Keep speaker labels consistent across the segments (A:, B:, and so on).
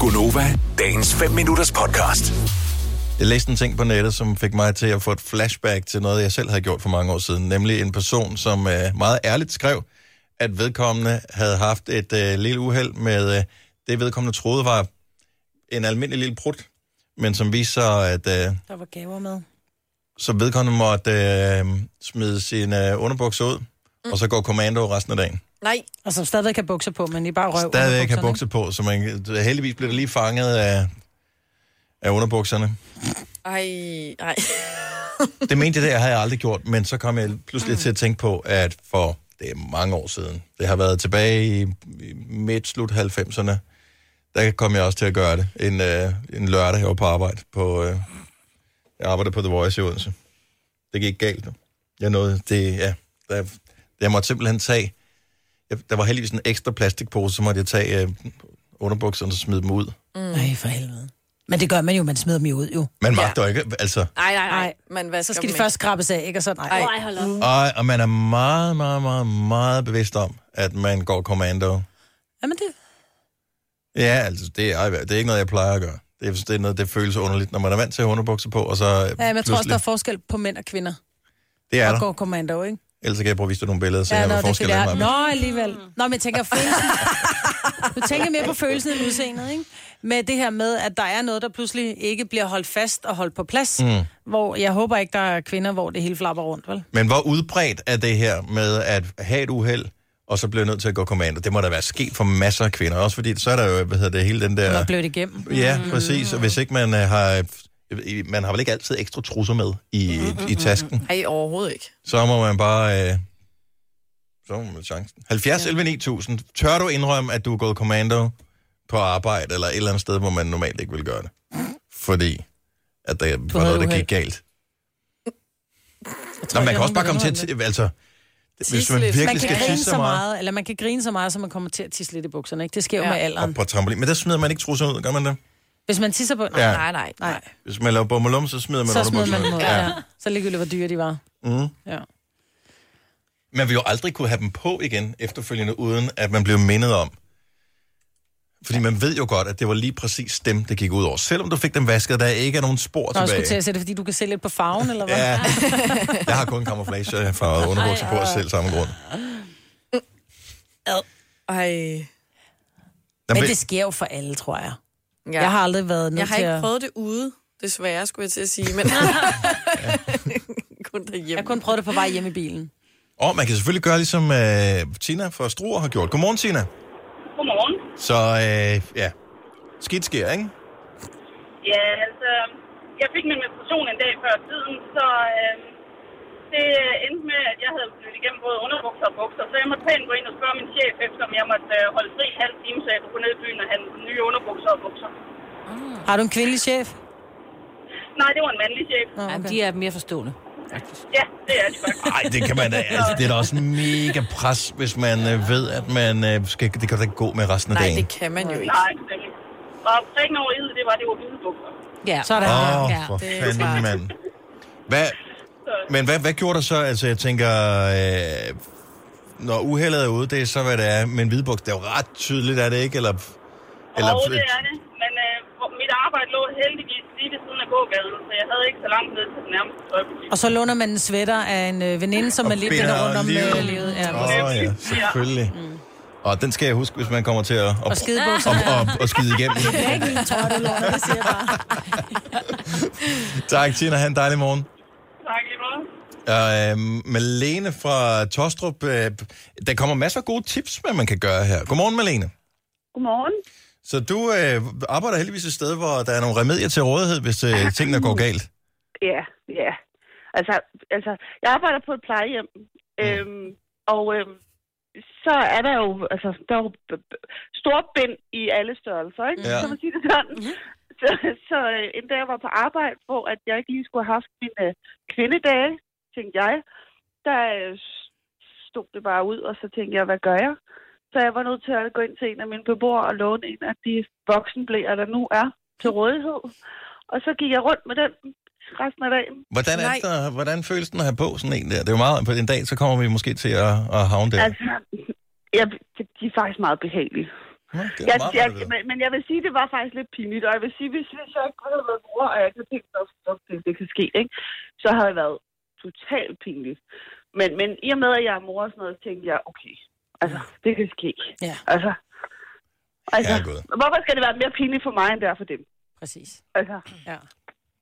A: Gunova, dagens 5 minutters podcast.
B: Jeg læste en ting på nettet, som fik mig til at få et flashback til noget, jeg selv havde gjort for mange år siden. Nemlig en person, som øh, meget ærligt skrev, at vedkommende havde haft et øh, lille uheld med øh, det, vedkommende troede var en almindelig lille prut, men som viste sig, at øh,
C: Der var gaver med.
B: så vedkommende måtte øh, smide sin øh, underbukser ud, mm. og så går kommando resten af dagen.
C: Nej. Og som Altså, stadigvæk har bukser på, men i bare røv.
B: Stadigvæk
C: underbukserne,
B: har bukser på, så man, heldigvis blev det lige fanget af, af underbukserne.
D: Ej, nej.
B: Det mente jeg, det havde jeg aldrig gjort, men så kom jeg pludselig til at tænke på, at for det er mange år siden, det har været tilbage i i midt-slut 90'erne, der kom jeg også til at gøre det en, øh, en lørdag, jeg var på arbejde på, øh, jeg arbejdede på The Voice i Odense. Det gik galt nu. Jeg nåede, det, ja, der, jeg måtte simpelthen tage, jeg, der var heldigvis en ekstra plastikpose, så måtte jeg tage øh, underbukserne og smide dem ud.
C: ikke? Nej, for helvede. Men det gør man jo, man smider dem jo ud, jo.
B: Man magter ja. ikke, altså,
D: Nej, nej,
C: Nej.
D: nej. Man vasker
C: Så skal de
D: dem
C: først skrabes af, ikke? Og så nej.
D: Ej.
C: Ej, hold op.
B: og, og man er meget, meget, meget, meget bevidst om, at man går kommando.
C: Jamen det...
B: Ja, altså, det er, det er ikke noget, jeg plejer at gøre. Det er, det er noget, det føles underligt, når man er vant til at have underbukser på, og så ja,
C: Ja, men jeg tror også, der er forskel på mænd og kvinder.
B: Det er
C: Og
B: der.
C: går kommando, ikke?
B: Ellers kan jeg prøve at vise dig nogle billeder, så ja,
C: Ja,
B: jeg
C: nå,
B: har
C: det er
B: forskel
C: det,
B: af
C: er.
B: mig.
C: Nå, alligevel. Nå, men jeg tænker følelsen. Du tænker mere på følelsen end udseendet, ikke? Med det her med, at der er noget, der pludselig ikke bliver holdt fast og holdt på plads. Mm. Hvor jeg håber ikke, der er kvinder, hvor det hele flapper rundt, vel?
B: Men hvor udbredt er det her med at have et uheld, og så blive nødt til at gå kommando? Det må da være sket for masser af kvinder, også fordi så er der jo, hvad hedder det, hele den
C: Ja.
B: der...
C: Man blev det igennem.
B: Ja, præcis, og hvis ikke man øh, har... Man har vel ikke altid ekstra trusser med i, i tasken.
D: Ej, overhovedet ikke.
B: så må man bare... Øh, så må man chancen. 70 ja. 11 9000. Tør du indrømme, at du er gået kommando på arbejde, eller et eller andet sted, hvor man normalt ikke vil gøre det? Fordi at der var
C: havde
B: noget, der
C: uheld.
B: gik galt.
C: Jeg tror
B: Nå,
C: ikke,
B: man
C: der
B: kan
C: er
B: også bare
C: nogen,
B: komme til
C: der
B: at...
C: ved,
B: t- Altså, det- hvis
D: Tisse
B: man
D: lidt.
B: virkelig
C: man kan
B: skal
C: grine
B: tisse
C: så meget, eller man kan grine så meget, så man kommer til at tisse lidt i bukserne, ikke? Det sker jo
D: Ja.
C: med alderen.
B: Og på trampolin. Men der smider man ikke trusserne ud, gør man det?
C: Hvis man tisser på...
B: Ja.
C: Ja.
D: Nej, nej, nej.
C: Nej,
B: Hvis man laver bommelum, så smider man
C: så smider man
B: underbukserne
C: dem
B: ud.
C: ud. Ja. Så ligegyldigt, hvor dyre de var.
B: Mm.
C: Ja.
B: Man vil jo aldrig kunne have dem på igen efterfølgende, uden at man blev mindet om. Fordi man ved jo godt, at det var lige præcis dem, det gik ud over. Selvom du fik dem vasket, der ikke er nogen spor
C: Nå, jeg skulle
B: tilbage.
C: til at sige det, fordi du kan se lidt på farven, eller hvad?
B: Ja. Jeg har kun camouflage farvet underbukser på af selv samme grund.
D: Ej.
B: Jamen,
C: Men
B: men,
C: det sker jo for alle, tror jeg.
D: Ja.
C: Jeg har aldrig været nødt
D: jeg har
C: til
D: ikke
C: at...
D: prøvet det ude, desværre, skulle jeg til at sige. Men... kun derhjemme.
C: Jeg har kun prøvet det på vej hjem i bilen.
B: og man kan selvfølgelig gøre, ligesom øh, Tina fra Struer har gjort. Godmorgen, Tina.
E: Godmorgen.
B: Så øh, ja, skidt sker, ikke?
E: Ja, altså, jeg fik min menstruation en dag før tiden, så øh, det øh, endte med, at jeg havde blødt igennem både underbukser og bukser, så jeg måtte pænt gå ind og spørge min chef, eftersom jeg måtte øh, holde fri en halv time, så jeg kunne gå ned i byen og handle nye underbukser og bukser.
C: Har du en kvindelig chef?
E: Nej, det var en mandlig chef.
C: Nå,
F: Jamen,
C: okay.
F: de er mere forstående.
E: Ja, det er det faktisk.
B: Nej, det kan man da. Altså, det er da også en mega pres, hvis man øh, ved, at man øh, skal, det kan da ikke gå med resten af
D: Nej,
B: dagen.
D: det kan man jo ikke.
E: Nej, nemlig. Og prikken over i det var, det var hvide bukser.
F: Ja.
C: Sådan.
B: Åh, oh,
F: Ja,
B: for
D: det er
B: fanden,
D: klart.
B: mand. Hvad, men hvad, hvad gjorde der så? Altså, jeg tænker, øh, når uheldet er ude, det er så, hvad det er. Men hvidbuks, det er jo ret tydeligt, er det ikke? Eller,
E: Eller... Og det er det. Men øh, hvor- mit arbejde lå heldigvis lige ved siden af gågaden, så jeg havde ikke så langt ned til den nærmeste tøjbutik.
C: Og så låner man en sweater af en øh, veninde, som
B: Og
C: er lidt den
B: binder
C: er rundt om
B: livet.
C: øh, livet. Ja.
B: Åh oh, ja, selvfølgelig. Mm. Og den skal jeg huske, hvis man kommer til at...
C: Og skidebukserne.
B: Og, og, og skide igennem.
C: Jeg tror, du låner, det siger jeg bare.
B: tak, Tina. Ha' en dejlig morgen.
E: Tak lige meget.
B: Øh, Malene fra Tostrup. Øh, der kommer masser af gode tips, hvad man kan gøre her. Godmorgen, Malene.
E: Godmorgen.
B: Så du øh, arbejder heldigvis et sted, hvor der er nogle remedier til rådighed, hvis
E: Ah.
B: øh, tingene går galt.
E: Ja, ja. Altså, altså jeg arbejder på et plejehjem, øhm, og øhm, så er der jo, altså, der er jo b- b- store bind i alle størrelser, ikke?
B: Ja.
E: Ja. Kan man sige det sådan? Så, så øh, en dag jeg var på arbejde, hvor at jeg ikke lige skulle have haft mine øh, kvindedage, tænkte jeg, der øh, s- stod det bare ud, og så tænkte jeg, hvad gør jeg? Så jeg var nødt til at gå ind til en af mine beboere og låne en af de voksenblæer, der nu er til rådighed. Og så gik jeg rundt med den resten af dagen.
B: Hvordan, er
D: Nej.
B: det, der- hvordan føles den at have på sådan en der? Det er jo meget, på en dag, så kommer vi måske til at, at havne der.
E: Altså, ja, de er faktisk meget behagelige.
B: Nå, det er
E: Jeg,
B: meget
E: jeg,
B: rart at vide.
E: men, men jeg vil sige, det var faktisk lidt pinligt, og jeg vil sige, hvis, hvis jeg ikke havde været mor, og jeg ikke havde tænkt mig, at det, det kan ske, ikke? så havde det været totalt pinligt. Men, men i og med, at jeg er mor og sådan noget, tænkte jeg, okay, altså, det kan ske.
C: Ja,
E: Altså, altså
B: Herregud.
E: hvorfor skal det være mere pinligt for mig, end det er for dem?
C: præcis.
E: Altså,
C: Ja.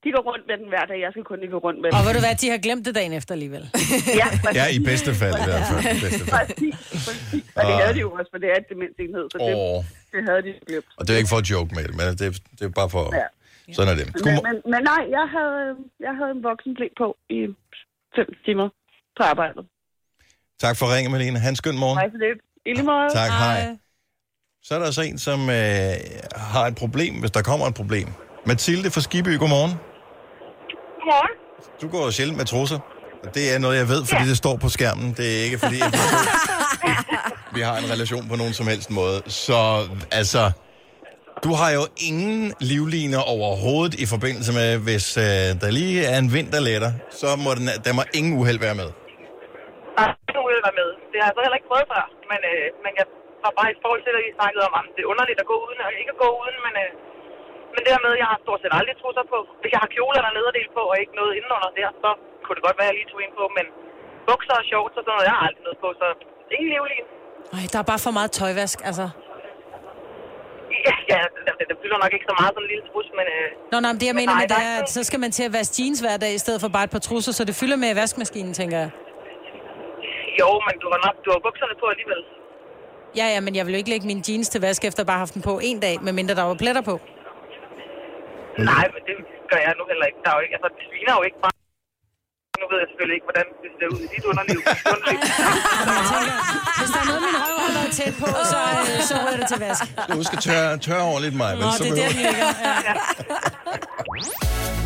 E: de går rundt med den hver dag, jeg skal kun ikke gå rundt med den.
C: Og ved du hvad, de har glemt det dagen efter alligevel.
E: Ja, præcis,
B: Ja, i bedste fald i hvert fald. I bedste fald.
E: præcis, præcis. Og det
B: Ah.
E: havde de jo også, for det er et demensenhed, så det,
B: Åh,
E: det havde de glemt.
B: og det er ikke for at joke med det, men det, det er bare for...
E: Ja.
B: Sådan er det.
E: Men,
B: Godmorgen.
E: men, men nej, jeg havde, øh, jeg havde en voksenblik på i fem timer på arbejdet.
B: Tak for ringen, Malene. Han skøn morgen.
E: Nej, så det i lige måde.
B: Tak, hej. Så er der også en, som øh, har et problem, hvis der kommer et problem. Mathilde fra Skiby, godmorgen.
E: Godmorgen.
B: Du går jo sjældent med trusser. Og det er noget, jeg ved, fordi det står på skærmen. Det er ikke, fordi at vi har en relation på nogen som helst måde. Så altså, du har jo ingen livliner overhovedet i forbindelse med, hvis øh, der lige er en vind, der letter, så må den, der må ingen uheld være med.
F: Nej, Ah, det ville være med. Det har jeg så heller ikke prøvet før, men, øh, men jeg var bare i forhold til, at I snakkede om, at det er underligt at gå uden, og ikke at gå uden, men, øh, men det her med, at jeg har stort set aldrig trusser på. Hvis jeg har kjoler der nederdel på, og ikke noget indenunder der, så kunne det godt være, at jeg lige tog ind på, men bukser og shorts og sådan noget, jeg har aldrig noget på, så ingen livlin.
C: Ej, der er bare for meget tøjvask, altså.
F: Ja, ja det, det, fylder nok ikke så meget som en lille trus, men øh,
C: Nå, nej, men det jeg mener
F: nej,
C: med det
F: der er
C: er,
F: ikke
C: at
F: noget-
C: så skal man til at vaske jeans hver dag, i stedet for bare et par trusser, så det fylder med i vaskemaskinen, tænker jeg.
F: jo, men du har nok du har bukserne på alligevel.
C: Ja, ja, men jeg vil jo ikke lægge mine jeans til vask, efter bare at have haft dem på en dag, medmindre der var pletter på.
F: Nej, men det gør jeg nu heller ikke. Der er jo ikke, altså, det sviner jo ikke bare. Nu ved jeg selvfølgelig ikke, hvordan det ser ud i dit underliv. Dit underliv. Ah.
C: Hvis der er noget, min røv har været tæt på, så, øh, så ryger det til vask.
B: Du skal tørre, tørre ordentligt mig,
C: Nå,
B: vel? Så
C: det er
B: behøver...
C: der, den ligger. Ja.